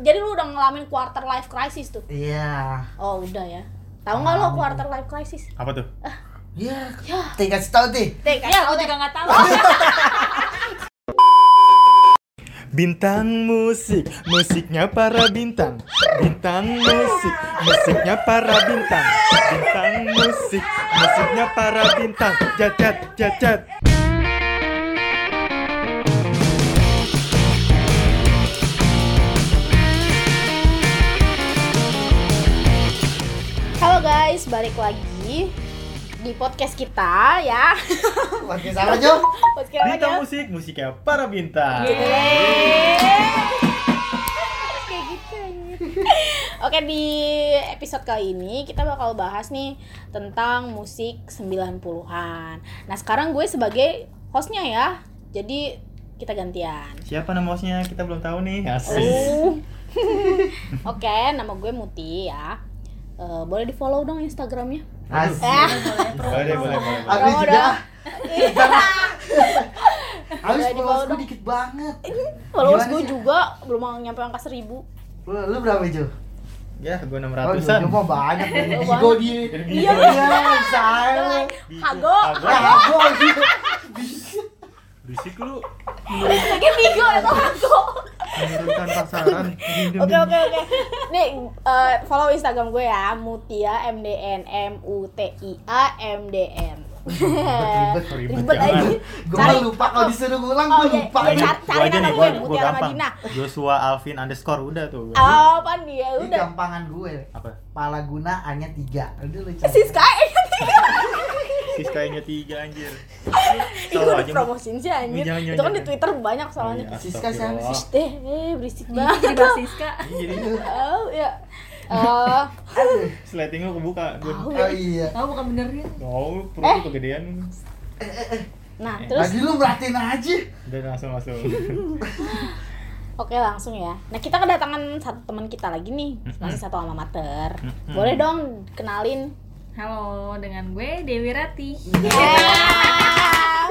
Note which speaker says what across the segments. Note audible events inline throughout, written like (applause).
Speaker 1: jadi lu udah ngalamin quarter life crisis tuh
Speaker 2: Iya.
Speaker 1: oh udah ya tahu nggak lo quarter life crisis
Speaker 3: Apa tuh?
Speaker 2: Ya,
Speaker 1: Ya.
Speaker 2: Teh kasih tahu Teh.
Speaker 1: Teh,
Speaker 4: Ya,
Speaker 1: kasih tau
Speaker 4: aku
Speaker 1: deh.
Speaker 4: juga nggak tahu.
Speaker 3: Bintang musik, musiknya para bintang. Bintang musik, musiknya para bintang. Bintang musik, musiknya para bintang. Jajat, jajat.
Speaker 1: (laughs) halo guys balik lagi di podcast kita ya
Speaker 2: Pakai sama Jo.
Speaker 1: (laughs) podcast apa
Speaker 3: Bintang
Speaker 1: ya
Speaker 3: musik, musiknya para bintang.
Speaker 1: Kayak gitu, (laughs) anjir. Oke di episode kali ini kita bakal bahas nih tentang musik 90-an Nah sekarang gue sebagai hostnya ya Jadi kita gantian
Speaker 3: Siapa nama hostnya? Kita belum tahu nih. Asik.
Speaker 1: Oh. Oke, nama gue Muti ya. Eh, boleh di follow dong Instagramnya. Eh,
Speaker 2: Asik.
Speaker 3: Boleh, boleh, boleh. boleh.
Speaker 2: Abis
Speaker 1: Kamu
Speaker 2: juga.
Speaker 1: dong. (laughs)
Speaker 2: Abis
Speaker 1: Udah di bawah
Speaker 2: followers gue
Speaker 1: dong.
Speaker 2: dikit banget.
Speaker 1: Followers
Speaker 2: Gimana
Speaker 1: gue
Speaker 2: sih?
Speaker 1: juga belum nyampe angka seribu.
Speaker 2: Lu, lu berapa Jo?
Speaker 3: Ya, gue
Speaker 2: Oh, Jo
Speaker 3: 600-an.
Speaker 2: Jo mah banyak. Dari
Speaker 1: (laughs) Banyak.
Speaker 2: Bigo dia.
Speaker 3: Iya.
Speaker 2: Iya, bisa.
Speaker 1: Hago.
Speaker 2: Ya,
Speaker 3: Agak
Speaker 2: aku dia.
Speaker 3: bisik lu
Speaker 1: Lagi bigo atau hago.
Speaker 3: menurunkan pasaran.
Speaker 1: Oke oke oke. Nih eh, follow Instagram gue ya Mutia MDN M U T I A M D N.
Speaker 2: Ribet,
Speaker 3: ribet,
Speaker 1: Ribet
Speaker 3: jangan.
Speaker 1: aja.
Speaker 2: Gue mah
Speaker 1: Cari.
Speaker 2: lupa kalau disuruh ngulang
Speaker 1: Oh,
Speaker 2: gue
Speaker 1: iya,
Speaker 2: lupa.
Speaker 1: iya, Cari- cari nama gue, Mutiara Madinah.
Speaker 3: Joshua Alvin underscore udah tuh.
Speaker 1: Oh, apaan dia
Speaker 2: Ini
Speaker 1: udah.
Speaker 2: gampangan gue.
Speaker 3: Apa?
Speaker 2: Pala guna hanya tiga. Udah lu cari.
Speaker 1: Siska
Speaker 3: Siskanya tiga anjir.
Speaker 1: Ih, gue udah promosiin sih anjir.
Speaker 3: Jangan, jangan,
Speaker 1: Itu kan di
Speaker 3: jangan.
Speaker 1: Twitter banyak soalnya.
Speaker 3: Iya,
Speaker 2: Siska siapa
Speaker 3: astagfirullah. Iya,
Speaker 2: sih?
Speaker 1: Eh, eh, berisik
Speaker 4: Ini
Speaker 1: banget.
Speaker 4: jadi basiska.
Speaker 3: Ini Jadi
Speaker 1: (laughs) Oh ya. Eh,
Speaker 2: Aduh.
Speaker 3: sliding lu kebuka. Gun.
Speaker 2: Oh iya.
Speaker 4: Tahu bukan benernya.
Speaker 3: Oh, perut
Speaker 1: Eh.
Speaker 3: lu kegedean.
Speaker 1: nah,
Speaker 3: Eh,
Speaker 1: terus
Speaker 2: Lagi lu merhatiin aja.
Speaker 3: Dan langsung langsung.
Speaker 1: oke langsung ya. Nah, kita kedatangan satu teman kita lagi nih, masih satu alma mater. Boleh dong kenalin.
Speaker 4: Halo, dengan gue Dewi Rati.
Speaker 1: Iya. (laughs)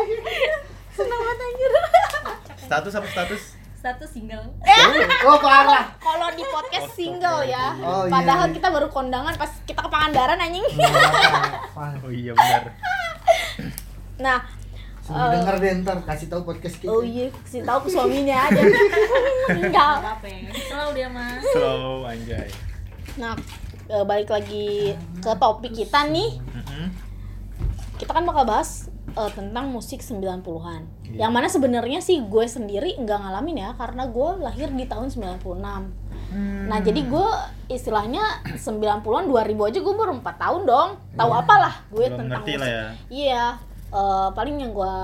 Speaker 1: Senang banget anjir.
Speaker 3: status apa status?
Speaker 4: Status single.
Speaker 1: Eh.
Speaker 2: Oh parah.
Speaker 1: Kalau di podcast single ya.
Speaker 2: Oh, iya,
Speaker 1: Padahal
Speaker 2: iya.
Speaker 1: kita baru kondangan pas kita ke Pangandaran anjing.
Speaker 2: Parah.
Speaker 3: Oh iya benar.
Speaker 1: Nah,
Speaker 2: Suruh
Speaker 1: Eh.
Speaker 2: denger deh ntar kasih tahu podcast kita.
Speaker 1: oh iya, kasih tahu ke suaminya (laughs) aja. Enggak.
Speaker 4: Apa ya? Selalu dia mah.
Speaker 3: Slow anjay.
Speaker 1: Nah, eh, balik lagi ke topik kita nih.
Speaker 3: Mm-mm.
Speaker 1: Kita kan bakal bahas eh, tentang musik 90-an.
Speaker 3: Iya.
Speaker 1: Yang mana sebenarnya sih gue sendiri nggak ngalamin ya karena gue lahir di tahun 96.
Speaker 3: Hmm.
Speaker 1: Nah, jadi gue istilahnya 90-an 2000 aja gue baru 4 tahun dong. Tahu apalah gue
Speaker 3: Iya. Belum
Speaker 1: tentang
Speaker 3: ngerti
Speaker 1: musik.
Speaker 3: lah ya.
Speaker 1: Iya. eh, paling yang gue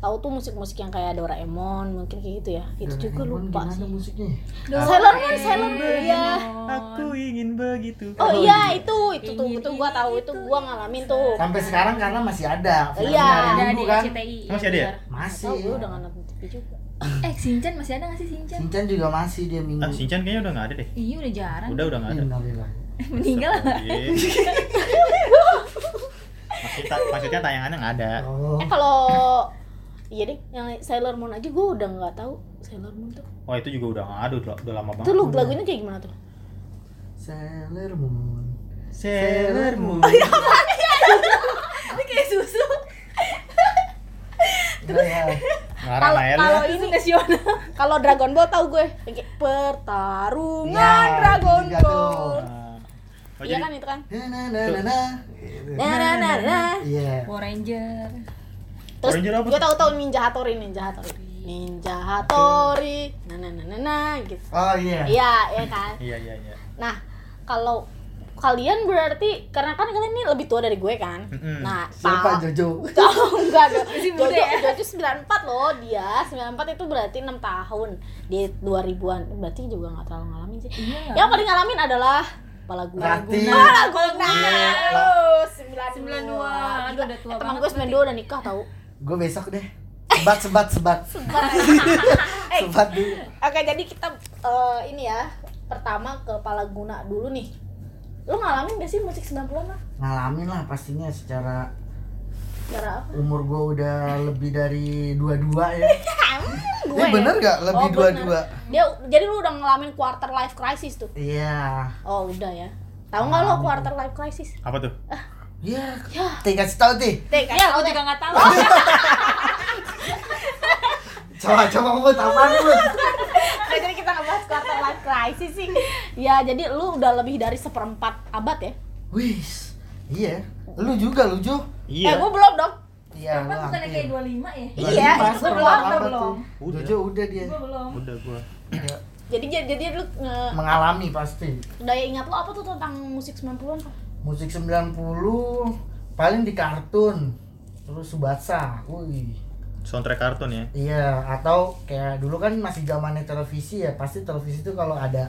Speaker 1: tahu tuh musik-musik yang kayak Doraemon mungkin kayak gitu ya. Itu
Speaker 2: Dan
Speaker 1: juga
Speaker 2: Raymond
Speaker 1: lupa
Speaker 2: gimana
Speaker 1: sih.
Speaker 2: musiknya?
Speaker 1: Sailor Moon, Sailor Moon. Iya.
Speaker 3: Aku ingin begitu.
Speaker 1: Oh iya itu itu tuh
Speaker 4: Ini,
Speaker 1: itu gua
Speaker 4: ini,
Speaker 1: tahu itu
Speaker 4: itu.
Speaker 1: gua ngalamin tuh.
Speaker 2: Sampai sekarang karena masih ada. filmnya
Speaker 1: Iya.
Speaker 2: hari
Speaker 4: Ada
Speaker 2: Minggu
Speaker 4: di
Speaker 2: kan.
Speaker 4: RCTI.
Speaker 3: ya. Masih ada ya?
Speaker 4: benar.
Speaker 2: Masih.
Speaker 1: Tahu gua udah nggak nonton TV juga.
Speaker 4: Eh, Sinchan masih ada nggak sih Sinchan?
Speaker 2: Sinchan juga masih dia minggu. Iya,
Speaker 3: Ah,
Speaker 1: Hmm.
Speaker 3: Shinchan kayaknya udah nggak ada deh.
Speaker 1: Kan?
Speaker 4: Iya udah jarang.
Speaker 3: Udah udah nggak ada.
Speaker 2: Innalillah.
Speaker 4: Meninggal lah.
Speaker 3: Iya. Maksudnya, maksudnya tayangannya nggak ada.
Speaker 2: Oh.
Speaker 1: Eh kalau iya deh yang Sailor Moon aja gua udah nggak tahu Sailor Moon tuh.
Speaker 3: Oh itu juga udah nggak ada udah, udah lama
Speaker 1: Itu
Speaker 3: banget.
Speaker 2: ya.
Speaker 1: lu lagunya kayak gimana tuh?
Speaker 2: Sailor Moon.
Speaker 3: Sailor
Speaker 1: (laughs) Ya
Speaker 3: Moon.
Speaker 4: Ini kayak susu.
Speaker 2: Udah ya.
Speaker 3: Ngarang
Speaker 1: Kalau
Speaker 3: aja lu.
Speaker 1: kalau ini kalau Dragon Ball tahu gue Yang kayak pertarungan
Speaker 2: Ya,
Speaker 1: Dragon
Speaker 2: itu juga
Speaker 1: Ball.
Speaker 2: tuh.
Speaker 3: Ah. Oh,
Speaker 1: Iya
Speaker 3: jadi-
Speaker 1: kan itu kan.
Speaker 2: Na na na na na.
Speaker 1: Nah, nah, nah, nah.
Speaker 2: Iya.
Speaker 4: Power Ranger.
Speaker 1: Terus
Speaker 3: Ranger apa
Speaker 1: gue
Speaker 3: tuh?
Speaker 1: tahu tahu Ninja Hattori, Ninja Hattori. Ninja Hattori. Nah, nah, nah, nah, nah gitu.
Speaker 2: Oh iya.
Speaker 1: Iya, iya kan.
Speaker 3: Iya iya iya.
Speaker 1: Nah, kalau kalian berarti karena kan kalian ini lebih tua dari gue kan.
Speaker 3: Mm-mm.
Speaker 1: Nah,
Speaker 2: Siapa
Speaker 1: Jojo?
Speaker 2: Jojo?
Speaker 1: (laughs) enggak dong.
Speaker 4: Masih
Speaker 1: Jojo,
Speaker 4: muda ya?
Speaker 1: Jojo 94 loh dia. 94 itu berarti 6 tahun. Di 2000-an berarti juga nggak terlalu ngalamin sih.
Speaker 4: Iya.
Speaker 1: Yang paling ngalamin adalah Pala gue.
Speaker 2: Rati.
Speaker 1: Pala Iya, gue. Aduh, 92.
Speaker 4: 92. Aduh, udah tua
Speaker 1: Temen
Speaker 4: banget
Speaker 1: gue 92 udah nikah tau.
Speaker 2: Gue besok deh. Sebat sebat sebat. Sebat dulu.
Speaker 1: Eh, Oke, jadi kita eh, ini ya. Pertama ke Pala Guna dulu nih. Lu ngalamin gak sih musik 90-an lah?
Speaker 2: Ngalamin lah pastinya secara
Speaker 1: Cara apa?
Speaker 2: umur gue udah lebih dari dua-dua ya
Speaker 1: 92
Speaker 2: Ini
Speaker 1: ya?
Speaker 2: bener gak? Lebih
Speaker 1: Oh, bener.
Speaker 2: dua-dua
Speaker 1: Dia jadi lu udah ngalamin quarter life crisis tuh.
Speaker 2: Iya
Speaker 1: Oh, udah ya. Tahu nggak lo quarter life crisis?
Speaker 3: Apa tuh?
Speaker 1: Eh,
Speaker 2: Iya
Speaker 1: Ya.
Speaker 2: Tih kasih tau Tih
Speaker 1: Teh, kasih
Speaker 4: Ya, aku
Speaker 1: tau deh.
Speaker 4: juga nggak tahu.
Speaker 2: Coba coba mau tapan lu
Speaker 1: Nah, jadi kita ngebahas quarter life crisis sih. Ya, jadi lu udah lebih dari seperempat abad ya?
Speaker 2: Wis Iya Lu juga lu Jo
Speaker 1: Eh,
Speaker 3: Iya.
Speaker 1: gua belum dong.
Speaker 3: Ya,
Speaker 2: Iya
Speaker 4: Apa
Speaker 2: lu
Speaker 4: bukannya kayak
Speaker 2: hampir
Speaker 4: 25 ya?
Speaker 1: Iya, itu
Speaker 2: Mas,
Speaker 1: gua
Speaker 2: belum
Speaker 1: belum,
Speaker 2: apa
Speaker 4: belum.
Speaker 2: tuh?
Speaker 3: Udah.
Speaker 2: Jojo udah dia
Speaker 4: Gua belum.
Speaker 3: Udah gua.
Speaker 2: Iya.
Speaker 1: Jadi jadi, jadi lu nge-
Speaker 2: Mengalami pasti
Speaker 1: daya ingat lu apa tuh tentang musik 90-an? Pak?
Speaker 2: Musik 90 Paling di kartun Terus Subasa Wih
Speaker 3: Soundtrack kartun ya.
Speaker 2: Iya, atau kayak dulu kan masih zamannya televisi ya, pasti televisi tuh kalau ada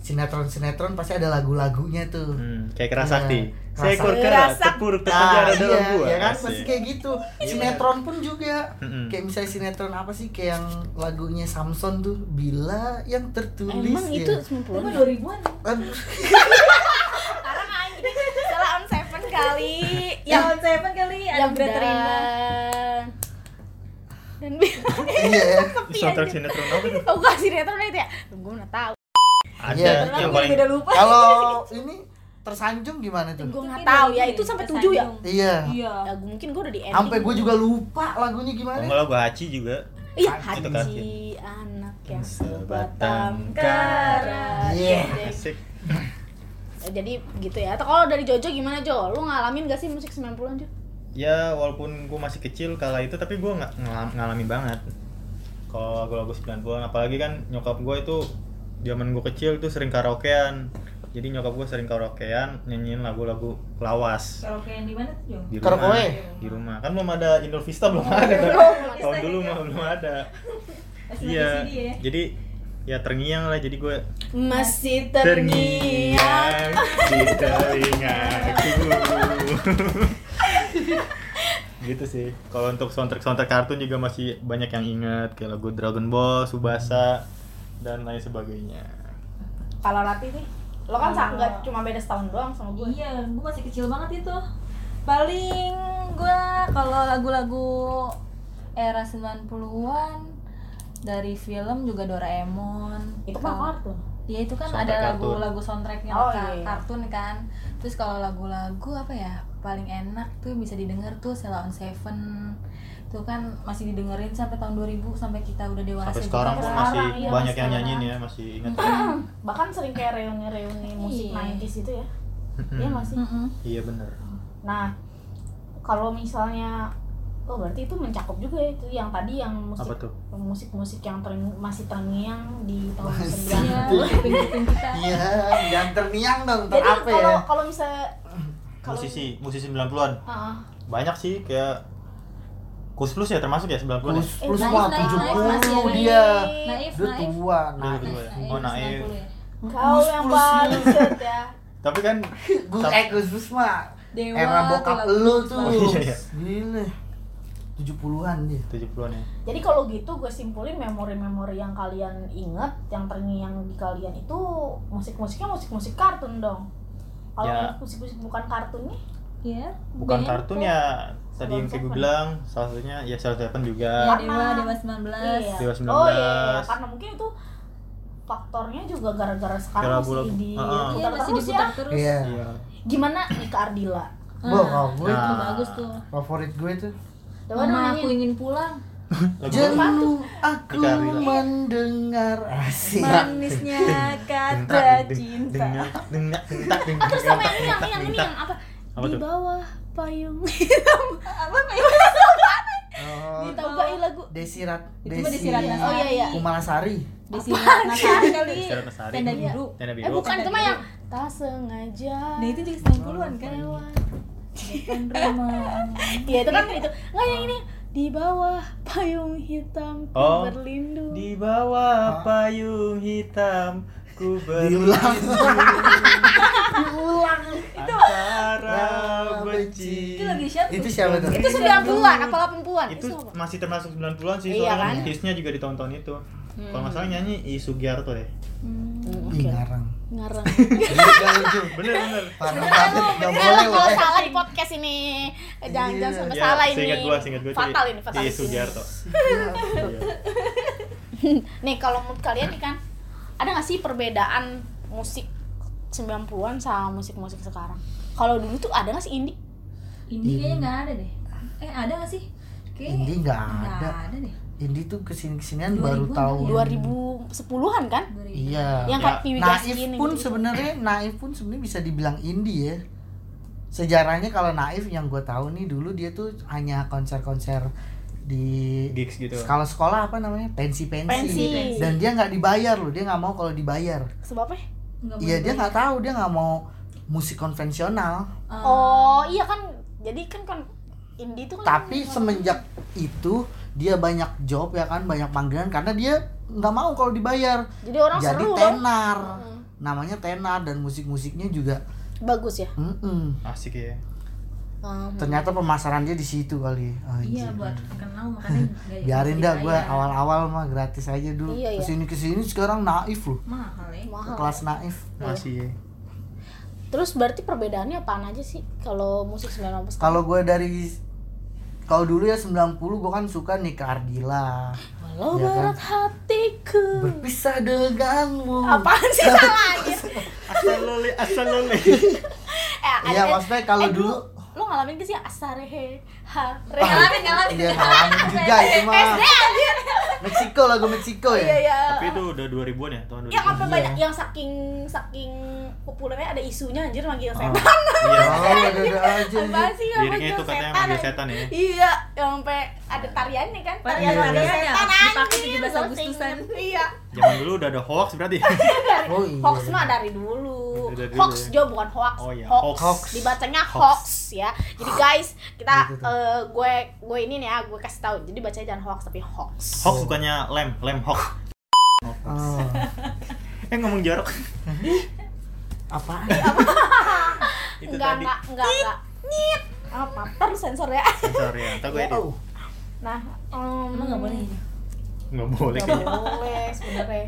Speaker 2: sinetron-sinetron pasti ada lagu-lagunya tuh.
Speaker 3: Hmm, kayak keras
Speaker 2: Iya.
Speaker 3: sakti.
Speaker 2: Keras
Speaker 3: Seekor
Speaker 1: sakti.
Speaker 3: kera
Speaker 1: Keras sakti.
Speaker 3: terpuruk
Speaker 2: Nah,
Speaker 1: Ah,
Speaker 3: terpenjara dalam
Speaker 2: iya,
Speaker 3: gua.
Speaker 2: ya kan?
Speaker 3: Asik.
Speaker 2: Pasti kayak gitu. Sinetron pun juga.
Speaker 3: Mm-mm.
Speaker 2: Kayak misalnya sinetron apa sih kayak yang lagunya Samson tuh, Bila yang tertulis
Speaker 1: Emang
Speaker 2: ya.
Speaker 1: itu
Speaker 4: Gua
Speaker 1: 90-an?
Speaker 4: 2000-an.
Speaker 2: Aduh, (laughs)
Speaker 1: Sekarang anjing salah on seven kali.
Speaker 4: Ya,
Speaker 1: Yang
Speaker 4: saya kali ada
Speaker 1: yang
Speaker 4: berat terima.
Speaker 1: dan dan bilang
Speaker 2: iya ya.
Speaker 3: Soundtrack sinetron apa tuh?
Speaker 1: (laughs) aku kasih sinetron itu ya gue mana tahu
Speaker 3: Ada
Speaker 2: Iya.
Speaker 1: Karena
Speaker 3: yang
Speaker 1: gua
Speaker 3: paling
Speaker 1: beda lupa
Speaker 2: Kalau ini tersanjung gimana
Speaker 1: gue
Speaker 2: tuh?
Speaker 1: nggak tahu ya itu sampai tujuh ya
Speaker 2: Iya.
Speaker 4: Iya.
Speaker 1: Ya, gua- mungkin gue udah di ending
Speaker 2: Sampai gue juga lupa lagunya gimana.
Speaker 3: Enggak lah gua Haji juga.
Speaker 1: iya
Speaker 3: Haji.
Speaker 1: haji anak yang
Speaker 3: Sebatang
Speaker 1: sebatang kara
Speaker 4: kara.
Speaker 2: Iya.
Speaker 3: Asik.
Speaker 1: Ya, jadi gitu ya atau kalau dari Jojo gimana Jo lu ngalamin gak sih musik 90-an Jo
Speaker 3: ya walaupun gue masih kecil kala itu tapi gue nggak ngelam- ngalamin banget kalau gue lagu 90-an apalagi kan nyokap gue itu zaman gue kecil tuh sering karaokean jadi nyokap gue sering karaokean nyanyiin lagu-lagu lawas
Speaker 4: Kalau kayak di mana tuh, Jong?
Speaker 3: di rumah
Speaker 2: Karaoke?
Speaker 3: di rumah kan belum ada Indoor Vista belum ada tahun dulu mah belum ada
Speaker 4: Masih
Speaker 3: iya
Speaker 4: di sini ya.
Speaker 3: jadi ya terngiang lah jadi gue
Speaker 1: masih terngiang
Speaker 3: terngiang di telingaku (laughs) gitu sih kalau untuk soundtrack soundtrack kartun juga masih banyak yang ingat kayak lagu Dragon Ball, Subasa dan lain sebagainya
Speaker 1: kalau Rati nih lo kan
Speaker 4: Kalau-
Speaker 1: nggak cuma beda setahun doang sama gue
Speaker 4: Iya, gue masih kecil banget itu. Paling gue kalau lagu-lagu era 90-an dari film juga Doraemon.
Speaker 1: itu kan mah
Speaker 4: Kalau-
Speaker 1: kartun
Speaker 4: Iya, itu kan
Speaker 3: Soundtrack
Speaker 4: ada
Speaker 3: kartun.
Speaker 4: lagu-lagu soundtracknya
Speaker 1: Oh,
Speaker 4: ka-
Speaker 1: iya.
Speaker 4: kartun kan. Terus kalau lagu-lagu apa ya paling enak tuh bisa didengar tuh Sela on Seven tuh kan masih didengerin sampai tahun 2000 sampai kita udah dewasa
Speaker 3: sampai
Speaker 4: juga.
Speaker 3: sekarang pun
Speaker 1: sekarang,
Speaker 3: masih
Speaker 1: iya,
Speaker 3: banyak yang
Speaker 4: sekarang.
Speaker 3: nyanyiin ya masih ingat
Speaker 1: bahkan sering kayak reuni-reuni musik
Speaker 4: Iya.
Speaker 1: 90s itu ya (clears throat) iya nggak sih (laughs)
Speaker 4: Mm-mm.
Speaker 3: iya bener
Speaker 1: nah kalau misalnya oh berarti itu mencakup juga ya, itu yang tadi yang musik
Speaker 3: apa tuh
Speaker 1: musik-musik yang tern- masih terngiang di tahun
Speaker 2: Masih.
Speaker 1: 90-an (laughs) an.
Speaker 4: Iya, kuping-kuping kita.
Speaker 2: Iya, jangan terniang dong,
Speaker 1: jadi
Speaker 2: terapa
Speaker 1: kalau
Speaker 2: ya?
Speaker 1: kalau misalnya kalau-
Speaker 3: musisi musisi 90-an
Speaker 1: Heeh.
Speaker 3: banyak sih kayak Kus Plus ya termasuk ya 90-an ya?
Speaker 2: Plus plus
Speaker 1: Eh, naik,
Speaker 2: wah
Speaker 4: naik,
Speaker 2: tujuh
Speaker 4: naik,
Speaker 2: puluh
Speaker 4: naik.
Speaker 2: dia.
Speaker 4: Naif,
Speaker 2: Dia
Speaker 4: naif.
Speaker 2: tua, nah.
Speaker 3: Dulu ya?
Speaker 4: Naif,
Speaker 3: Oh,
Speaker 4: naif,
Speaker 3: naif.
Speaker 4: 90 ya.
Speaker 1: kau
Speaker 2: Gus
Speaker 1: yang
Speaker 2: Plus.
Speaker 1: paling set ya
Speaker 3: tapi kan
Speaker 2: Gus eh Gus Plus mah
Speaker 4: Dewa,
Speaker 2: era bokap lu tuh.
Speaker 3: Oh, iya, iya.
Speaker 2: Gila. 70-an dia.
Speaker 3: 70-an ya
Speaker 1: jadi kalau gitu gue simpulin memori-memori yang kalian inget yang terngiang di kalian itu musik-musiknya musik-musik kartun dong kalau
Speaker 3: Ya.
Speaker 1: musik-musik bukan kartun nih
Speaker 4: Iya.
Speaker 3: bukan
Speaker 4: band.
Speaker 3: kartun ya tadi yang
Speaker 1: Salon
Speaker 3: kayak gue
Speaker 1: Seven.
Speaker 3: bilang salah satunya ya Salah Seven
Speaker 4: Iya,
Speaker 3: juga
Speaker 4: Dewa, Dewa 19.
Speaker 1: Iya.
Speaker 3: Dewa 19.
Speaker 1: Oh iya, iya, karena mungkin itu faktornya juga gara-gara sekarang masih
Speaker 3: Gara-gara Ah, lagu-
Speaker 1: di
Speaker 3: Heeh.
Speaker 4: Iya,
Speaker 1: putar
Speaker 4: masih
Speaker 1: terus ya.
Speaker 4: diputar terus.
Speaker 2: Iya.
Speaker 3: iya
Speaker 1: Gimana Ika Ardila?
Speaker 2: Wah, kalau gue
Speaker 3: Nah.
Speaker 4: Itu bagus tuh.
Speaker 2: favorit gue tuh.
Speaker 1: Coba dong
Speaker 4: Mama
Speaker 1: nyanyiin.
Speaker 4: aku ingin pulang.
Speaker 3: lagu apa?
Speaker 2: Jenuh aku
Speaker 3: Ika Rila.
Speaker 2: mendengar asik. (laughs)
Speaker 4: Manisnya kata
Speaker 1: (laughs)
Speaker 4: cinta.
Speaker 3: dengar dengar dengar
Speaker 1: Terus sama yang ini, yang ini, yang ini, yang apa?
Speaker 3: Apa
Speaker 1: di
Speaker 3: tuh?
Speaker 1: bawah payung.
Speaker 4: Apa ya?
Speaker 2: Oh,
Speaker 1: Ditawain lagu. Eh,
Speaker 2: Desirat
Speaker 4: Itu mah
Speaker 2: Desi.
Speaker 4: Desirat Nasari.
Speaker 1: Oh iya iya.
Speaker 2: Kumalasari.
Speaker 4: Di sini Nasari kali.
Speaker 3: Desirat Nasari.
Speaker 4: Tenda
Speaker 3: Iya.
Speaker 4: biru.
Speaker 3: tenda
Speaker 1: Eh
Speaker 3: biru
Speaker 1: bukan itu mah yang tak sengaja.
Speaker 4: Nah, itu juga 90-an kan.
Speaker 1: lewat.
Speaker 4: Depan
Speaker 1: (laughs)
Speaker 4: rumah.
Speaker 1: Iya itu kan itu. Enggak yang ini di bawah payung hitam ku
Speaker 3: Oh.
Speaker 1: berlindung.
Speaker 3: di bawah payung hitam ku berlindung
Speaker 2: Diulang.
Speaker 3: (laughs)
Speaker 2: Diulang.
Speaker 3: antara benci
Speaker 4: Itu lagi siapa?
Speaker 2: Itu siapa tuh?
Speaker 1: Itu 90-an apa 80-an?
Speaker 3: itu
Speaker 1: apa?
Speaker 3: masih termasuk 90-an sih
Speaker 1: Iya
Speaker 3: soalnya
Speaker 1: kan?
Speaker 3: hitsnya juga ditonton itu kalau nggak salah nyanyi I Sugiarto ya
Speaker 1: Hmm,
Speaker 2: Ih,
Speaker 1: Oke.
Speaker 2: ngarang.
Speaker 1: Ngarang.
Speaker 2: Gila lu, Ju.
Speaker 3: bener bener
Speaker 2: Parah banget. Nggak
Speaker 1: Beneran
Speaker 2: boleh,
Speaker 1: lah kalau
Speaker 2: eh.
Speaker 1: salah di podcast ini jangan jangan sampai
Speaker 3: Iya,
Speaker 1: salah ini
Speaker 3: seingat gua seingat gua
Speaker 2: Eh,
Speaker 1: fatal ini fatal
Speaker 3: I Sugiarto
Speaker 2: Gila.
Speaker 3: Iya.
Speaker 1: Nih kalau menurut kalian nih kan ada nggak sih perbedaan musik 90-an sama musik-musik sekarang? Kalau dulu tuh ada nggak sih indie?
Speaker 4: Indie kayaknya nggak ada deh. Eh ada nggak sih? Kayaknya
Speaker 2: Indie nggak
Speaker 4: nggak
Speaker 2: ada.
Speaker 4: ada deh.
Speaker 2: Indie tuh kesini kesinian baru
Speaker 4: 2000-an
Speaker 2: tahun
Speaker 1: 2010-an kan?
Speaker 2: Iya.
Speaker 1: ya? Yang
Speaker 3: Ya,
Speaker 1: kayak Piwi
Speaker 2: Naif
Speaker 1: Gaskin
Speaker 2: pun
Speaker 1: gitu.
Speaker 2: sebenarnya Naif pun sebenarnya bisa dibilang indie ya. Sejarahnya kalau Naif yang gue tahu nih dulu dia tuh hanya konser-konser di
Speaker 3: Gigs gitu.
Speaker 2: Kalau sekolah apa namanya? Pensi-pensi.
Speaker 1: Pensi.
Speaker 2: Dan dia nggak dibayar loh, dia nggak mau kalau dibayar.
Speaker 1: Sebabnya?
Speaker 4: Nggak
Speaker 2: Iya
Speaker 4: boleh
Speaker 2: dia
Speaker 4: banyak.
Speaker 2: nggak tahu, dia nggak mau musik konvensional.
Speaker 4: Ah,
Speaker 1: Oh, iya kan. Jadi kan kan indie tuh kan
Speaker 2: Tapi semenjak itu dia banyak job ya kan, banyak panggilan karena dia nggak mau kalau dibayar.
Speaker 1: jadi orang
Speaker 2: Jadi
Speaker 1: seru dong. Hmm.
Speaker 2: tenar. Namanya tenar dan musik-musiknya juga
Speaker 1: Bagus ya.
Speaker 2: mm-mm.
Speaker 3: Asik
Speaker 1: Iya.
Speaker 3: ya.
Speaker 4: Ah,
Speaker 1: Hmm.
Speaker 2: Ternyata pemasaran dia di situ kali.
Speaker 4: Iya
Speaker 2: Anjir.
Speaker 4: buat terkenal
Speaker 2: (laughs)
Speaker 4: makanya nggak-
Speaker 2: Biarin dah gue
Speaker 4: dibayar.
Speaker 2: awal-awal mah gratis aja dulu.
Speaker 1: gitu ya. Iya, iya.
Speaker 2: Kesini kesini sekarang naif loh.
Speaker 4: mahal ya.
Speaker 1: Mahal. Iya.
Speaker 2: Kelas naif.
Speaker 3: Masih ya.
Speaker 1: Terus berarti perbedaannya apaan aja sih kalau musik 90-an?
Speaker 2: Kalau gue dari kalau dulu ya 90 gue kan suka nih ke Ardila.
Speaker 1: Walau
Speaker 2: Iya kan?
Speaker 1: berat hatiku.
Speaker 2: Berpisah denganmu.
Speaker 1: Apaan sih
Speaker 2: (laughs)
Speaker 1: salah anjir?
Speaker 3: Asal loli, asal
Speaker 1: (laughs)
Speaker 3: loli.
Speaker 1: Eh,
Speaker 2: Iya,
Speaker 1: ada-
Speaker 2: maksudnya kalau
Speaker 1: eh,
Speaker 2: dulu
Speaker 1: lo ngalamin ke sih asarehe ha re
Speaker 4: Ngalamin,
Speaker 2: Ah,
Speaker 4: ngalamin.
Speaker 2: Iya, ngalamin
Speaker 1: (laughs)
Speaker 2: juga itu mah. Meksiko lagu Meksiko ya.
Speaker 1: iya iya
Speaker 3: Tapi itu udah 2000-an ya, tahun 2000.
Speaker 1: yang apa
Speaker 2: Iya.
Speaker 1: banyak yang saking saking populernya ada isunya anjir manggil
Speaker 2: (laughs)
Speaker 3: Ah,
Speaker 1: setan
Speaker 3: Iya.
Speaker 2: Oh, ada aja.
Speaker 1: apa sih yang
Speaker 3: Liriknya itu katanya manggil setan ya.
Speaker 1: iya yang sampai ada tariannya kan tarian
Speaker 4: Iya, iya.
Speaker 1: manggil setan
Speaker 4: Dipakai
Speaker 1: anjir
Speaker 4: 17
Speaker 1: lo
Speaker 4: Agustusan.
Speaker 1: sing- iya
Speaker 3: Zaman dulu udah ada hoax
Speaker 1: (laughs)
Speaker 3: berarti.
Speaker 2: Oh iya.
Speaker 1: hoax mah dari dulu
Speaker 3: Dari dulu
Speaker 1: hoax
Speaker 3: ya.
Speaker 1: jo bukan hoax
Speaker 3: Oh iya,
Speaker 1: hoax.
Speaker 2: hoax.
Speaker 1: dibacanya hoax.
Speaker 3: Hoax.
Speaker 1: ya jadi guys kita
Speaker 2: Gitu tuh.
Speaker 1: eh, gue gue ini nih ya gue kasih tahu jadi bacanya jangan hoax tapi hoax
Speaker 3: Hoax bukannya lem, lem hoax.
Speaker 2: Oh.
Speaker 3: Eh ngomong
Speaker 1: (laughs)
Speaker 3: jorok.
Speaker 2: Apaan?
Speaker 3: Itu
Speaker 1: enggak
Speaker 3: tadi.
Speaker 1: enggak enggak enggak nyit apa terus sensor ya
Speaker 3: Sensor ya. Entar gue edit.
Speaker 2: Oh.
Speaker 1: nah em,
Speaker 4: Emang nggak boleh ya?
Speaker 3: Enggak boleh
Speaker 1: nggak
Speaker 3: kayaknya.
Speaker 1: boleh sebenarnya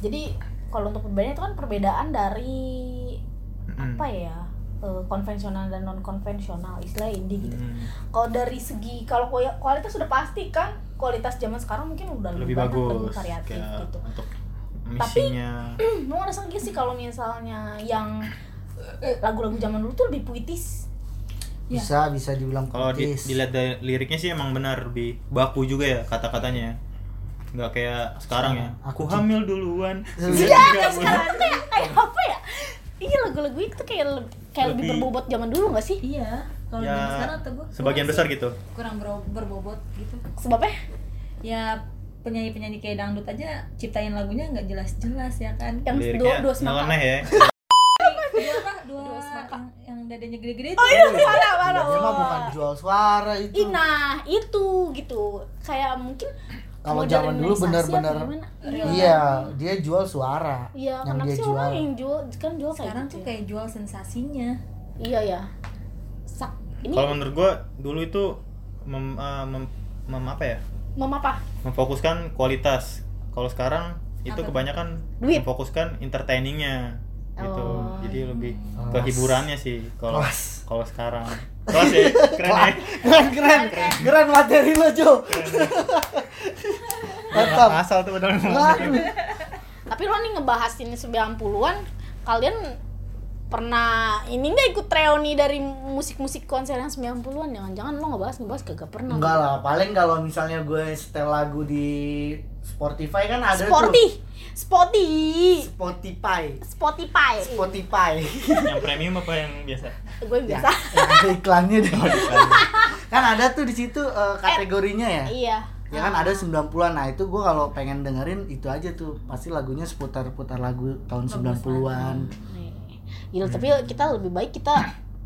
Speaker 1: jadi kalau untuk perbedaannya itu kan perbedaan dari
Speaker 3: Mm-mm.
Speaker 1: apa ya eh, konvensional dan non konvensional istilah indie gitu
Speaker 3: Mm.
Speaker 1: kalau dari segi kalau kuya- kualitas sudah pasti kan kualitas zaman sekarang mungkin udah lebih,
Speaker 3: Lebih
Speaker 1: banyak
Speaker 3: bagus
Speaker 1: dan kan variatif
Speaker 3: kayak
Speaker 1: gitu Hmm,
Speaker 3: untuk misinya.
Speaker 1: mau ngerasa nggak sih kalau misalnya yang eh, lagu-lagu zaman dulu tuh lebih puitis
Speaker 4: Iya.
Speaker 2: Bisa bisa dibilang
Speaker 3: Kalau di,
Speaker 2: puitis.
Speaker 1: Iya,
Speaker 3: dilihat dari liriknya sih emang benar lebih baku juga ya kata-katanya. Nggak kayak sekarang ya.
Speaker 2: Aku
Speaker 3: Aku
Speaker 2: cin-
Speaker 3: hamil
Speaker 1: (laughs)
Speaker 3: duluan.
Speaker 2: Iya,
Speaker 3: Nggak boleh.
Speaker 1: sekarang kayak kayak
Speaker 2: Hmm.
Speaker 1: apa ya iya lagu-lagu itu kayak le- kayak lebih,
Speaker 3: Lebih-
Speaker 1: berbobot zaman dulu nggak sih
Speaker 4: Iya. Kalau
Speaker 3: Ya,
Speaker 4: zaman sekarang atau gue
Speaker 3: sebagian besar gitu.
Speaker 4: kurang bero- berbobot gitu.
Speaker 1: sebabnya
Speaker 4: Ya penyanyi-penyanyi kayak dangdut aja ciptain lagunya nggak jelas-jelas ya kan.
Speaker 1: yang dua
Speaker 3: Liriknya
Speaker 1: dua semangka
Speaker 3: nyeleneh ya.
Speaker 4: Dua apa? Dua,
Speaker 1: Dua semangka.
Speaker 4: yang, yang dadanya gede-gede itu.
Speaker 1: oh iya parah parah
Speaker 2: Dia mah bukan jual suara itu.
Speaker 1: Ih, nah itu gitu kayak mungkin
Speaker 2: Kalau
Speaker 1: modernisasi
Speaker 2: zaman dulu
Speaker 1: apa
Speaker 2: benar-benar
Speaker 1: ya gimana?
Speaker 2: Iya, dia jual suara.
Speaker 1: Iya,
Speaker 2: yang
Speaker 1: kenapa
Speaker 2: dia
Speaker 1: sih
Speaker 2: jual.
Speaker 1: orang yang jual kan jual kayak
Speaker 4: Sekarang
Speaker 1: gitu
Speaker 4: tuh
Speaker 1: ya?
Speaker 4: kayak jual sensasinya.
Speaker 1: Iya ya. Sak ini
Speaker 3: Kalau menurut gua dulu itu mem, eh, mem- mem- apa ya?
Speaker 1: mama apa?
Speaker 3: Memfokuskan kualitas. Kalau sekarang itu
Speaker 4: Apa?
Speaker 3: kebanyakan
Speaker 1: Duit.
Speaker 3: memfokuskan entertainingnya gitu.
Speaker 1: Oh.
Speaker 3: Jadi lebih
Speaker 2: Kelas.
Speaker 3: ke hiburannya sih kalau
Speaker 2: Kelas.
Speaker 3: kalau sekarang. Kelas ya, keren ya.
Speaker 2: Keren, keren, keren materi lo, Jo. Mantap.
Speaker 3: Asal tuh padahal ngomong.
Speaker 2: Waduh.
Speaker 1: Tapi lo nih ngebahas ini 90-an, kalian pernah ini nggak ikut reuni dari musik-musik konser yang 90-an jangan-jangan lo ngebahas ngebahas kagak pernah
Speaker 2: Enggak lah, paling kalau misalnya gue setel lagu di Spotify kan ada
Speaker 1: Sporty
Speaker 2: tuh.
Speaker 1: Sporty
Speaker 2: Spotify.
Speaker 1: Spotify (laughs)
Speaker 2: Spotify.
Speaker 3: Yang premium apa yang biasa?
Speaker 1: gue yang
Speaker 2: ya,
Speaker 1: biasa
Speaker 2: yang ada iklannya
Speaker 1: (laughs)
Speaker 2: deh. kan ada tuh di situ eh, kategorinya ya.
Speaker 1: iya
Speaker 2: Ya kan ada 90-an. Nah, itu gue kalau pengen dengerin itu aja tuh. Pasti lagunya seputar-putar lagu tahun 90-an.
Speaker 1: Nih. Gila, tapi kita lebih baik kita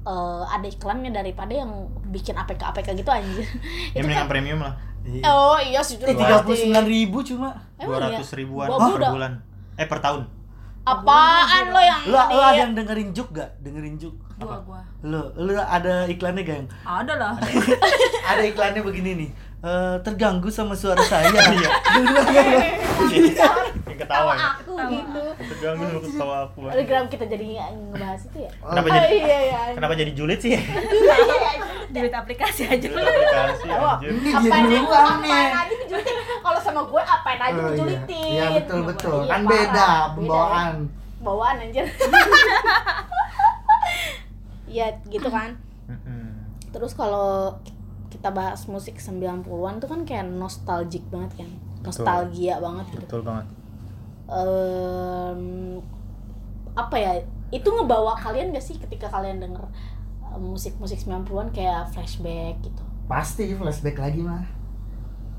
Speaker 1: eh, ada iklannya daripada yang bikin APK-APK gitu anjir
Speaker 3: Ya
Speaker 1: Itu
Speaker 3: mendingan
Speaker 1: kan-
Speaker 3: premium lah.
Speaker 1: Oh iya sih
Speaker 2: Eh,
Speaker 1: pasti.
Speaker 2: 39 ribu cuma.
Speaker 1: Emang iya?
Speaker 3: 200 ribuan
Speaker 1: Gua- gua
Speaker 3: per
Speaker 1: udah-
Speaker 3: bulan. Eh per
Speaker 1: (laughs)
Speaker 3: tahun.
Speaker 1: Apaan lo yang
Speaker 2: Lo,
Speaker 1: di-
Speaker 2: lo ada yang dengerin juk gak? Dengerin juk.
Speaker 4: Dua gua.
Speaker 2: Lo, lo ada iklannya gak yang
Speaker 4: Ada lah.
Speaker 2: ada iklannya begini nih eh, terganggu sama suara (laughs) saya
Speaker 3: Iya. yang ketawa.
Speaker 1: sama
Speaker 2: ya?
Speaker 3: ya.
Speaker 1: aku
Speaker 4: Sama
Speaker 1: gitu.
Speaker 3: Tegang lu ketawa aku.
Speaker 1: Ada gram kita jadi ngebahas itu ya. Iya,
Speaker 3: Kenapa
Speaker 1: Oh
Speaker 3: jadi
Speaker 1: iya iya.
Speaker 3: kenapa jadi julid sih?
Speaker 2: iya,
Speaker 4: (laughs) Duit aplikasi aja.
Speaker 3: Julid aplikasi
Speaker 1: Oh,
Speaker 3: anjir.
Speaker 2: Ini
Speaker 1: Apa
Speaker 2: dia
Speaker 1: yang
Speaker 2: duluan
Speaker 1: apa
Speaker 2: nih.
Speaker 1: aja dijulitin kalau 90 sama gue apain aja
Speaker 2: iya, Oh, iya.
Speaker 1: dijulitin.
Speaker 2: Iya betul betul.
Speaker 1: Iya,
Speaker 2: Kan
Speaker 1: parah.
Speaker 2: beda
Speaker 1: ya.
Speaker 2: pembawaan.
Speaker 1: Bawaan
Speaker 2: (laughs)
Speaker 1: anjir. Iya gitu kan.
Speaker 3: Mm-mm.
Speaker 1: Terus kalau kita bahas musik 90-an tuh kan kayak nostalgic banget kan. Nostalgia banget gitu.
Speaker 3: betul banget
Speaker 1: Em, apa ya? Itu ngebawa kalian gak sih ketika kalian denger eh, musik-musik 90-an kayak flashback gitu?
Speaker 2: Pasti flashback lagi mah.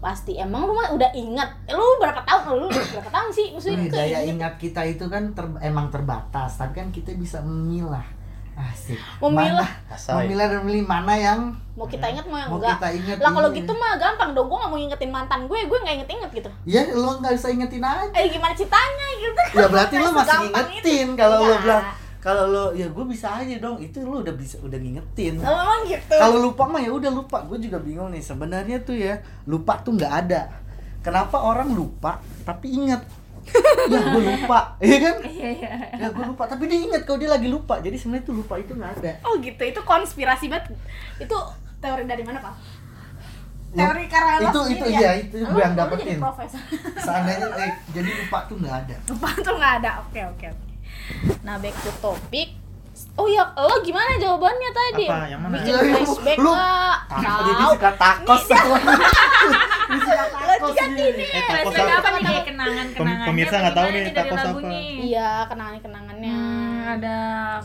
Speaker 1: Pasti emang lu mah udah inget. Eh, Lu berapa tahun lu? Berapa tahun sih? Maksudnya
Speaker 2: Nih, daya
Speaker 1: keinget.
Speaker 2: ingat kita itu kan ter- emang terbatas, tapi kan kita bisa memilah. Asik.
Speaker 1: Memilah.
Speaker 2: Mana,
Speaker 3: Asai.
Speaker 2: memilah dan memilih mana yang
Speaker 1: mau kita inget mau yang
Speaker 2: mau
Speaker 1: enggak?
Speaker 2: kita ingat.
Speaker 1: Lah kalau
Speaker 2: iya.
Speaker 1: gitu mah gampang dong, gue gak mau ngingetin mantan gue, gue gak inget-inget gitu
Speaker 2: Ya lo nggak bisa ingetin
Speaker 1: (laughs)
Speaker 2: aja.
Speaker 1: Eh gimana ceritanya gitu
Speaker 2: Ya berarti lo
Speaker 1: Segampang
Speaker 2: masih
Speaker 1: itu. Iya.
Speaker 2: ingetin kalau lo
Speaker 1: Enggak.
Speaker 2: bilang kalau lo ya gue bisa aja dong itu lo udah bisa udah ngingetin.
Speaker 1: Lah, Emang gitu
Speaker 2: Kalau lupa mah ya udah lupa. Gue juga bingung nih sebenarnya tuh ya lupa tuh nggak ada. Kenapa orang lupa tapi inget? ya
Speaker 1: (laughs)
Speaker 2: gue lupa, iya kan?
Speaker 4: Iya, iya.
Speaker 2: Ya gue lupa, tapi dia inget kalau dia lagi lupa. Jadi sebenarnya tuh lupa itu nggak ada.
Speaker 1: Oh gitu, itu konspirasi banget Itu teori dari mana Pak?
Speaker 2: Lu-
Speaker 1: Teori Karel
Speaker 2: itu
Speaker 1: sendiri
Speaker 2: itu
Speaker 1: ya?
Speaker 2: iya itu
Speaker 1: Lu-
Speaker 2: gue yang
Speaker 1: lu
Speaker 2: dapetin.
Speaker 1: jadi profesor (laughs)
Speaker 2: Seandainya eh, jadi lupa tuh nggak ada.
Speaker 1: Lupa tuh nggak ada, oke oke oke Nah back to topic Oh ya, lo gimana jawabannya tadi?
Speaker 3: Apa? Yang mana?
Speaker 1: Bikin
Speaker 2: Iya, iya, lu-
Speaker 1: flashback
Speaker 2: lu-
Speaker 1: nggak?
Speaker 2: Takut dia
Speaker 1: Tahu.
Speaker 2: suka takos
Speaker 1: Iya.
Speaker 2: semuanya. (laughs) Dia suka takos dia.
Speaker 3: eh takos
Speaker 4: Flashback
Speaker 3: apa
Speaker 4: apa nih? Kenangan-kenangannya
Speaker 3: Pemirsa nggak tahu
Speaker 4: bagaimana
Speaker 3: nih,
Speaker 4: nih dari
Speaker 3: takos
Speaker 4: lagu
Speaker 3: apa.
Speaker 4: nih?
Speaker 1: Iya, kenangan-kenangannya
Speaker 4: Hmm, ada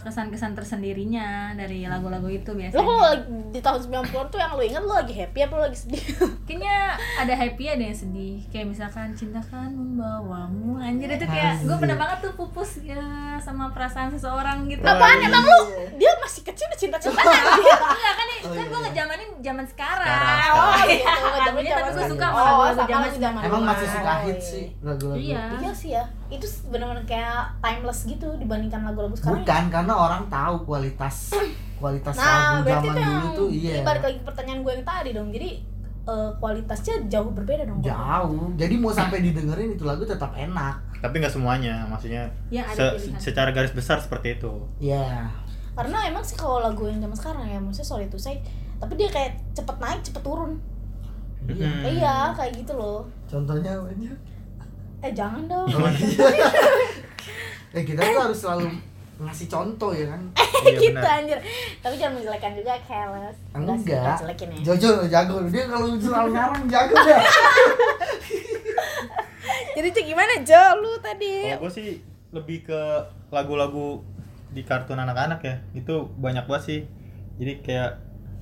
Speaker 4: kesan-kesan tersendirinya dari lagu-lagu itu
Speaker 1: Lo
Speaker 4: biasanya.
Speaker 1: kalau lagi- di tahun 90 tuh yang lo inget lo lagi happy apa lo lagi sedih?
Speaker 4: Kayaknya ada happy ada yang sedih. Kayak misalkan cinta kan membawamu anjir itu kayak gue
Speaker 2: Anjir.
Speaker 4: pernah banget tuh pupus ya, sama perasaan seseorang gitu.
Speaker 1: Apaan Kan emang lu? Dia masih kecil udah cinta-cintaan Gitu.
Speaker 4: Enggak kan,
Speaker 2: Oh,
Speaker 4: kan
Speaker 2: iya,
Speaker 4: gue
Speaker 2: iya.
Speaker 4: ngejamanin zaman
Speaker 3: Sekarang,
Speaker 4: sekarang.
Speaker 3: sekarang.
Speaker 1: Oh, gitu.
Speaker 4: Lagunya Iya. tapi gue
Speaker 2: zaman
Speaker 4: suka
Speaker 2: dulu.
Speaker 1: Oh,
Speaker 4: sama lagu
Speaker 1: sama
Speaker 4: zaman
Speaker 1: lagu
Speaker 4: zaman
Speaker 1: zaman
Speaker 2: Emang
Speaker 1: dulu.
Speaker 2: masih suka hits sih lagu-lagu.
Speaker 4: Iya.
Speaker 1: Iya sih ya. Itu benar-benar kayak timeless gitu dibandingkan lagu-lagu sekarang.
Speaker 2: Bukan karena orang tahu
Speaker 1: (clears throat)
Speaker 2: kualitas kualitas
Speaker 1: ya. Nah,
Speaker 2: lagu
Speaker 1: berarti itu
Speaker 2: zaman
Speaker 1: yang
Speaker 2: dulu tuh iya.
Speaker 1: balik lagi ke pertanyaan gue yang tadi dong. Jadi eh, kualitasnya jauh berbeda dong.
Speaker 2: Jauh. Jadi mau
Speaker 1: (clears throat)
Speaker 2: sampai didengerin itu lagu tetap enak.
Speaker 3: tapi nggak semuanya maksudnya
Speaker 4: Ya, ada
Speaker 3: se-
Speaker 4: pilihan.
Speaker 3: secara garis besar seperti itu
Speaker 2: Iya.
Speaker 1: Karena emang sih kalau lagu yang zaman sekarang ya, maksudnya sorry itu saya, tapi dia kayak cepet naik cepet turun.
Speaker 2: Iya.
Speaker 3: Mm-mm.
Speaker 1: Iya, kayak gitu loh.
Speaker 2: Contohnya apa aja?
Speaker 1: Eh jangan
Speaker 4: Oh,
Speaker 1: dong.
Speaker 3: Iya,
Speaker 4: gitu.
Speaker 2: Oh, iya,
Speaker 1: (laughs)
Speaker 4: (laughs)
Speaker 2: Eh kita tuh harus selalu ngasih contoh ya kan.
Speaker 3: Iya,
Speaker 1: gitu
Speaker 3: benar.
Speaker 1: anjir. Tapi jangan menjelekan juga Keles. sih,
Speaker 2: Enggak.
Speaker 1: jangan jelekin ya.
Speaker 2: Jojo jago. Dia kalau selalu ngarang jago
Speaker 1: (laughs)
Speaker 2: dah.
Speaker 1: Jadi itu gimana Jo lu tadi?
Speaker 3: Kalau
Speaker 2: Oh,
Speaker 3: gue sih lebih ke lagu-lagu di kartun anak-anak ya. Itu banyak banget sih. Jadi kayak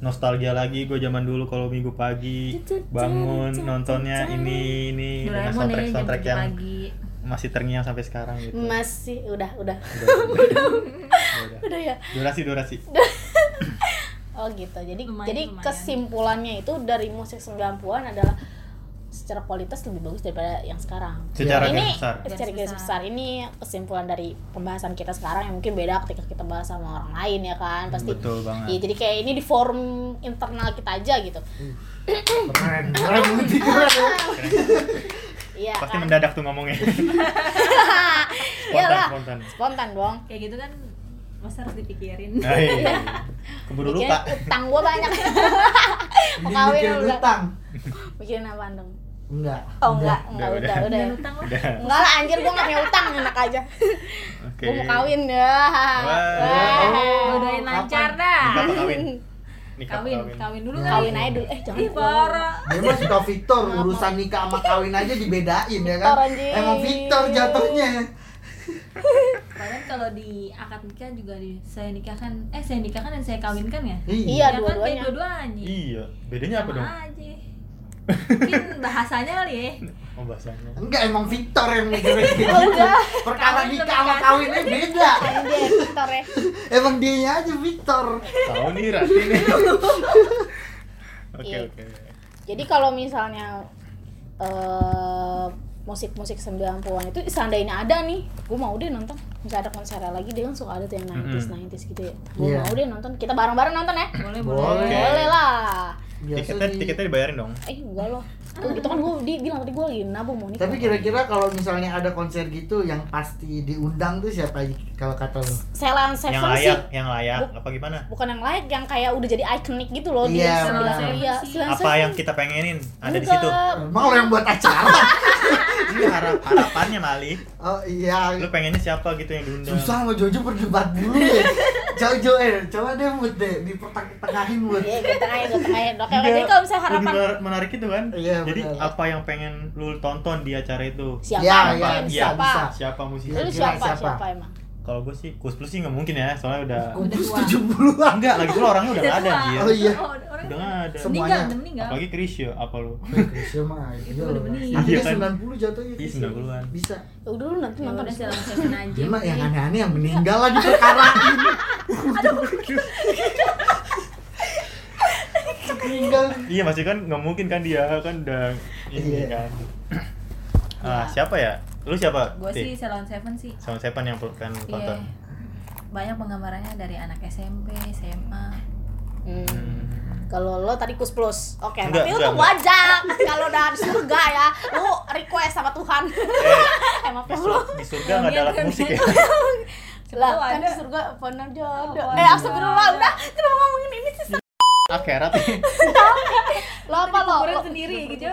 Speaker 3: nostalgia lagi gue zaman dulu kalau minggu pagi bangun nontonnya ini ini dengan
Speaker 4: Doraemon
Speaker 3: soundtrack
Speaker 4: nih jam
Speaker 3: soundtrack
Speaker 4: 7
Speaker 3: yang
Speaker 4: pagi.
Speaker 3: masih terngiang sampai sekarang gitu.
Speaker 1: Masih udah udah (laughs)
Speaker 4: (laughs)
Speaker 3: Udah.
Speaker 1: udah ya.
Speaker 3: Durasi durasi.
Speaker 1: Oh gitu. Jadi
Speaker 4: Lumayan,
Speaker 1: jadi
Speaker 4: lumayan.
Speaker 1: kesimpulannya itu dari musik 90-an adalah secara kualitas lebih bagus daripada yang sekarang.
Speaker 4: ya
Speaker 3: Secara
Speaker 1: ini
Speaker 3: garis besar.
Speaker 1: secara garis
Speaker 4: Garis
Speaker 1: besar
Speaker 4: besar.
Speaker 1: ini kesimpulan dari pembahasan kita sekarang yang mungkin beda ketika kita bahas sama orang lain ya kan pasti.
Speaker 3: Hmm, Betul banget.
Speaker 1: Iya, jadi kayak ini di forum internal kita aja gitu.
Speaker 2: Keren. Keren lebih keren. ya.
Speaker 1: Iya.
Speaker 3: Pasti
Speaker 1: kan? (laughs)
Speaker 3: mendadak tuh
Speaker 4: (laughs)
Speaker 3: ngomongnya. spontan
Speaker 1: Iyalah.
Speaker 3: spontan.
Speaker 1: Spontan dong.
Speaker 4: Kayak gitu kan masa harus dipikirin. (laughs)
Speaker 3: Nah, iya. Keburu
Speaker 1: Bikin
Speaker 3: lupa.
Speaker 1: utang gua
Speaker 3: (laughs)
Speaker 1: banyak. Mau
Speaker 2: Jadi
Speaker 1: kawin
Speaker 2: mikir
Speaker 1: udah.
Speaker 2: utang.
Speaker 1: Mikirin apaan dong?
Speaker 2: Enggak.
Speaker 1: Oh enggak, enggak
Speaker 3: Udah,
Speaker 1: udah, udah.
Speaker 4: Dan
Speaker 1: ya.
Speaker 4: utang lah.
Speaker 3: Udah.
Speaker 1: Enggak lah anjir gua enggak punya utang enak aja.
Speaker 3: Oke.
Speaker 1: Gua mau kawin ya.
Speaker 2: Oh.
Speaker 4: Doain lancar dah.
Speaker 3: Nikah apa
Speaker 1: (laughs)
Speaker 3: kawin? Nikah apa
Speaker 4: Kawin, kawin dulu
Speaker 2: Nah,
Speaker 4: kan.
Speaker 1: Kawin aja dulu. Eh jangan.
Speaker 4: Ih, parah.
Speaker 2: Dia mah suka Victor,
Speaker 1: Maaf,
Speaker 2: urusan nikah sama kawin aja dibedain ya
Speaker 1: Victor,
Speaker 2: kan.
Speaker 1: anjing.
Speaker 2: Emang Victor jatuhnya.
Speaker 4: Padahal kalau di akad nikah juga di saya nikahkan, eh saya nikahkan dan saya kawinkan ya.
Speaker 1: Iya,
Speaker 4: Ya kan, kayak
Speaker 1: dua-duanya.
Speaker 4: dua-duanya.
Speaker 3: Iya, bedanya apa
Speaker 4: Sama
Speaker 3: dong?
Speaker 1: Ah.
Speaker 4: aja. Mungkin bahasanya kali ya.
Speaker 3: Oh, bahasanya.
Speaker 2: Enggak, emang Victor yang
Speaker 4: (laughs)
Speaker 2: mikirin gitu. Perkara
Speaker 4: Kawin
Speaker 2: nikah
Speaker 4: sama
Speaker 2: sama kawinnya beda.
Speaker 1: Ini dia Victor ya.
Speaker 2: Emang dia aja Victor.
Speaker 3: Tahu nih Rati
Speaker 1: (laughs)
Speaker 3: nih. Oke,
Speaker 1: Iya.
Speaker 3: oke.
Speaker 1: Jadi kalau misalnya eh, musik-musik 90-an itu seandainya ada nih, gue mau deh nonton. Misalnya ada konser lagi, dia kan suka ada tuh yang 90s, 90s gitu ya. Gue
Speaker 2: Iya.
Speaker 1: mau deh nonton. Kita bareng-bareng nonton ya.
Speaker 4: Boleh,
Speaker 2: Boleh.
Speaker 4: boleh.
Speaker 1: Boleh lah.
Speaker 2: Biasa
Speaker 3: Tiketnya
Speaker 2: di-
Speaker 3: tiketnya dibayarin dong.
Speaker 1: Eh enggak loh. Tuh, itu kan gue bilang tadi gue lagi nabung mau nikah.
Speaker 2: Tapi kira-kira kalau misalnya ada konser gitu yang pasti diundang tuh siapa aja kalau kata lu?
Speaker 1: Selan Seven
Speaker 3: Yang
Speaker 1: sih
Speaker 3: layak, yang layak
Speaker 1: Bu-
Speaker 3: apa gimana?
Speaker 1: bukan yang layak yang kayak udah jadi ikonik gitu loh
Speaker 2: Iya,
Speaker 1: di
Speaker 2: benar.
Speaker 1: sembilan iya
Speaker 4: Apa
Speaker 1: Selan
Speaker 3: Apa
Speaker 1: Seven.
Speaker 3: yang kita pengenin ada di
Speaker 1: Enggak.
Speaker 3: situ.
Speaker 4: (laughs)
Speaker 2: Emang lo yang buat acara?
Speaker 3: Ini harap harapannya Mali.
Speaker 2: Oh iya.
Speaker 3: Lu pengennya siapa gitu yang diundang?
Speaker 2: Susah sama Jojo berdebat dulu ya. Jojo eh coba deh buat deh di pertengahin buat.
Speaker 1: Iya, gue tengahin, gue tengahin. Oke, oke.
Speaker 3: Enggak,
Speaker 1: Jadi Ya, kalau misalnya
Speaker 3: lebih
Speaker 1: harapan
Speaker 3: menar- menarik itu kan?
Speaker 2: Iya,
Speaker 3: Jadi
Speaker 2: benar.
Speaker 3: apa yang pengen lu tonton di acara itu?
Speaker 1: siapa?
Speaker 2: Iya,
Speaker 1: Ken?
Speaker 2: iya, bisa,
Speaker 1: siapa?
Speaker 2: bisa.
Speaker 3: Siapa musisi?
Speaker 2: Iya.
Speaker 1: Lu
Speaker 2: Kira-kira
Speaker 1: siapa?
Speaker 2: siapa?
Speaker 1: siapa? emang?
Speaker 3: Kalau gue sih Kus Plus sih nggak mungkin ya, soalnya udah
Speaker 2: Kudus
Speaker 4: tua.
Speaker 2: 70-an.
Speaker 3: enggak lagi pula orangnya udah nggak ada
Speaker 4: tua.
Speaker 3: anjir.
Speaker 2: Oh, iya.
Speaker 4: Oh, orang
Speaker 3: Udah nggak ada.
Speaker 2: Semua-
Speaker 4: meninggal,
Speaker 2: Semuanya.
Speaker 4: udah meninggal.
Speaker 3: Apalagi Krisya apa lu?
Speaker 2: Krisya mah
Speaker 4: Itu udah bening.
Speaker 2: Iya, Nanti
Speaker 3: Iya
Speaker 2: dia
Speaker 3: kan?
Speaker 2: 90 jatuhnya.
Speaker 3: Iya,
Speaker 2: Krisya.
Speaker 3: 90-an.
Speaker 2: Bisa.
Speaker 1: Ya udah lu nanti
Speaker 4: Ya
Speaker 1: nonton
Speaker 4: udah
Speaker 1: deh.
Speaker 4: silahkan silahkan aja.
Speaker 1: Iya,
Speaker 2: Dia mah yang
Speaker 4: Iya.
Speaker 2: aneh-aneh yang meninggal lagi perkarain. meninggal.
Speaker 3: Iya masih kan nggak mungkin kan dia kan udah ini
Speaker 2: Iya.
Speaker 3: kan. Ah, siapa ya? Lu siapa?
Speaker 4: Gue
Speaker 3: Ti?
Speaker 4: sih Salon Seven sih.
Speaker 3: Sama siapa nih yang perlu- pengen lu
Speaker 4: Iya.
Speaker 3: tonton?
Speaker 4: Banyak penggambarannya dari anak SMP, SMA.
Speaker 1: Hmm.
Speaker 3: Hmm.
Speaker 1: Kalau lo tadi kus plus, oke.
Speaker 3: Enggak,
Speaker 1: Nanti lu
Speaker 3: enggak,
Speaker 1: tunggu aja. Kalau udah di surga ya, lu request sama Tuhan. (laughs) Emang
Speaker 3: Di,
Speaker 4: Ya,
Speaker 1: eh,
Speaker 3: sur-
Speaker 1: lo
Speaker 3: di surga nggak ada alat
Speaker 4: Iya,
Speaker 3: musik ya?
Speaker 1: lah
Speaker 4: Siapa tahu
Speaker 1: kan
Speaker 4: ada.
Speaker 1: di surga phone aja ada.
Speaker 4: Oh,
Speaker 1: eh
Speaker 4: ada.
Speaker 1: astagfirullah udah kenapa ngomongin ini sih?
Speaker 3: Akhirat ya?
Speaker 1: Lo apa lo?
Speaker 4: Kuburan
Speaker 1: Lo-
Speaker 4: sendiri gitu.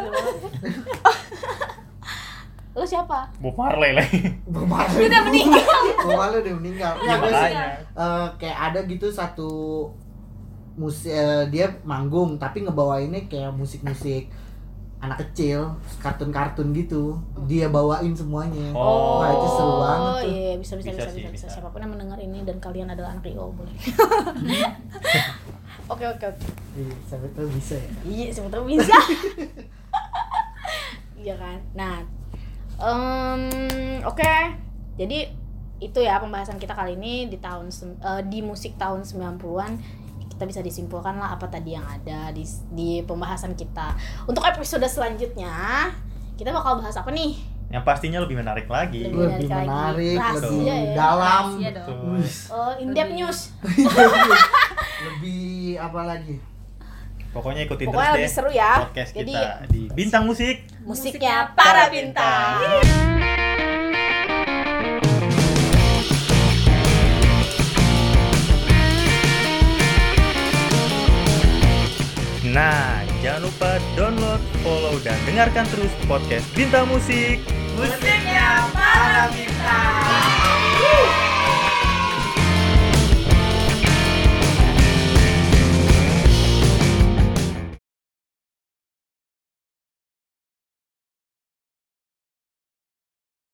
Speaker 1: Lo siapa?
Speaker 3: Bob Marley
Speaker 2: Iya,
Speaker 3: lagi.
Speaker 2: Bermalu.
Speaker 1: Dia udah meninggal.
Speaker 2: Bermalu udah meninggal.
Speaker 3: Iya
Speaker 2: Ya, gua sih
Speaker 3: makanya.
Speaker 2: eh, kayak ada gitu satu musik eh, dia manggung tapi ngebawainnya kayak musik-musik anak kecil, kartun-kartun gitu. Dia bawain semuanya.
Speaker 3: Oh.
Speaker 2: Wah, itu seru banget tuh.
Speaker 1: iya bisa bisa
Speaker 3: Bisa
Speaker 1: bisa
Speaker 3: sih,
Speaker 1: bisa, bisa.
Speaker 3: bisa.
Speaker 1: siapapun yang mendengar ini dan kalian adalah anak IO boleh. (laughs) Oke oke oke.
Speaker 2: Iya, sampai tuh bisa ya.
Speaker 1: Iya sebetulnya bisa. Iya kan. Nah, em, oke. Jadi itu ya pembahasan kita kali ini di tahun sem- eh, di musik tahun 90-an kita bisa disimpulkan lah apa tadi yang ada di di pembahasan kita. Untuk episode selanjutnya kita bakal bahas apa nih?
Speaker 3: Yang pastinya lebih menarik lagi.
Speaker 1: Lebih
Speaker 2: Lebih
Speaker 1: menarik lagi.
Speaker 2: menarik,
Speaker 1: Rahasia
Speaker 2: lebih
Speaker 1: ya.
Speaker 2: dalam.
Speaker 4: Rahasia dong.
Speaker 3: Betul.
Speaker 2: Wih.
Speaker 1: Eh, in depth
Speaker 4: Lebih-
Speaker 1: news.
Speaker 2: lebih apa lagi?
Speaker 3: Pokoknya ikutin
Speaker 1: Pokoknya
Speaker 3: terus deh
Speaker 1: lebih seru ya.
Speaker 3: podcast
Speaker 1: Jadi-
Speaker 3: kita di Bintang Musik.
Speaker 1: Musiknya para bintang.
Speaker 3: Nah, jangan lupa download, follow, dan dengarkan terus podcast Bintang Musik.
Speaker 2: Musiknya para bintang.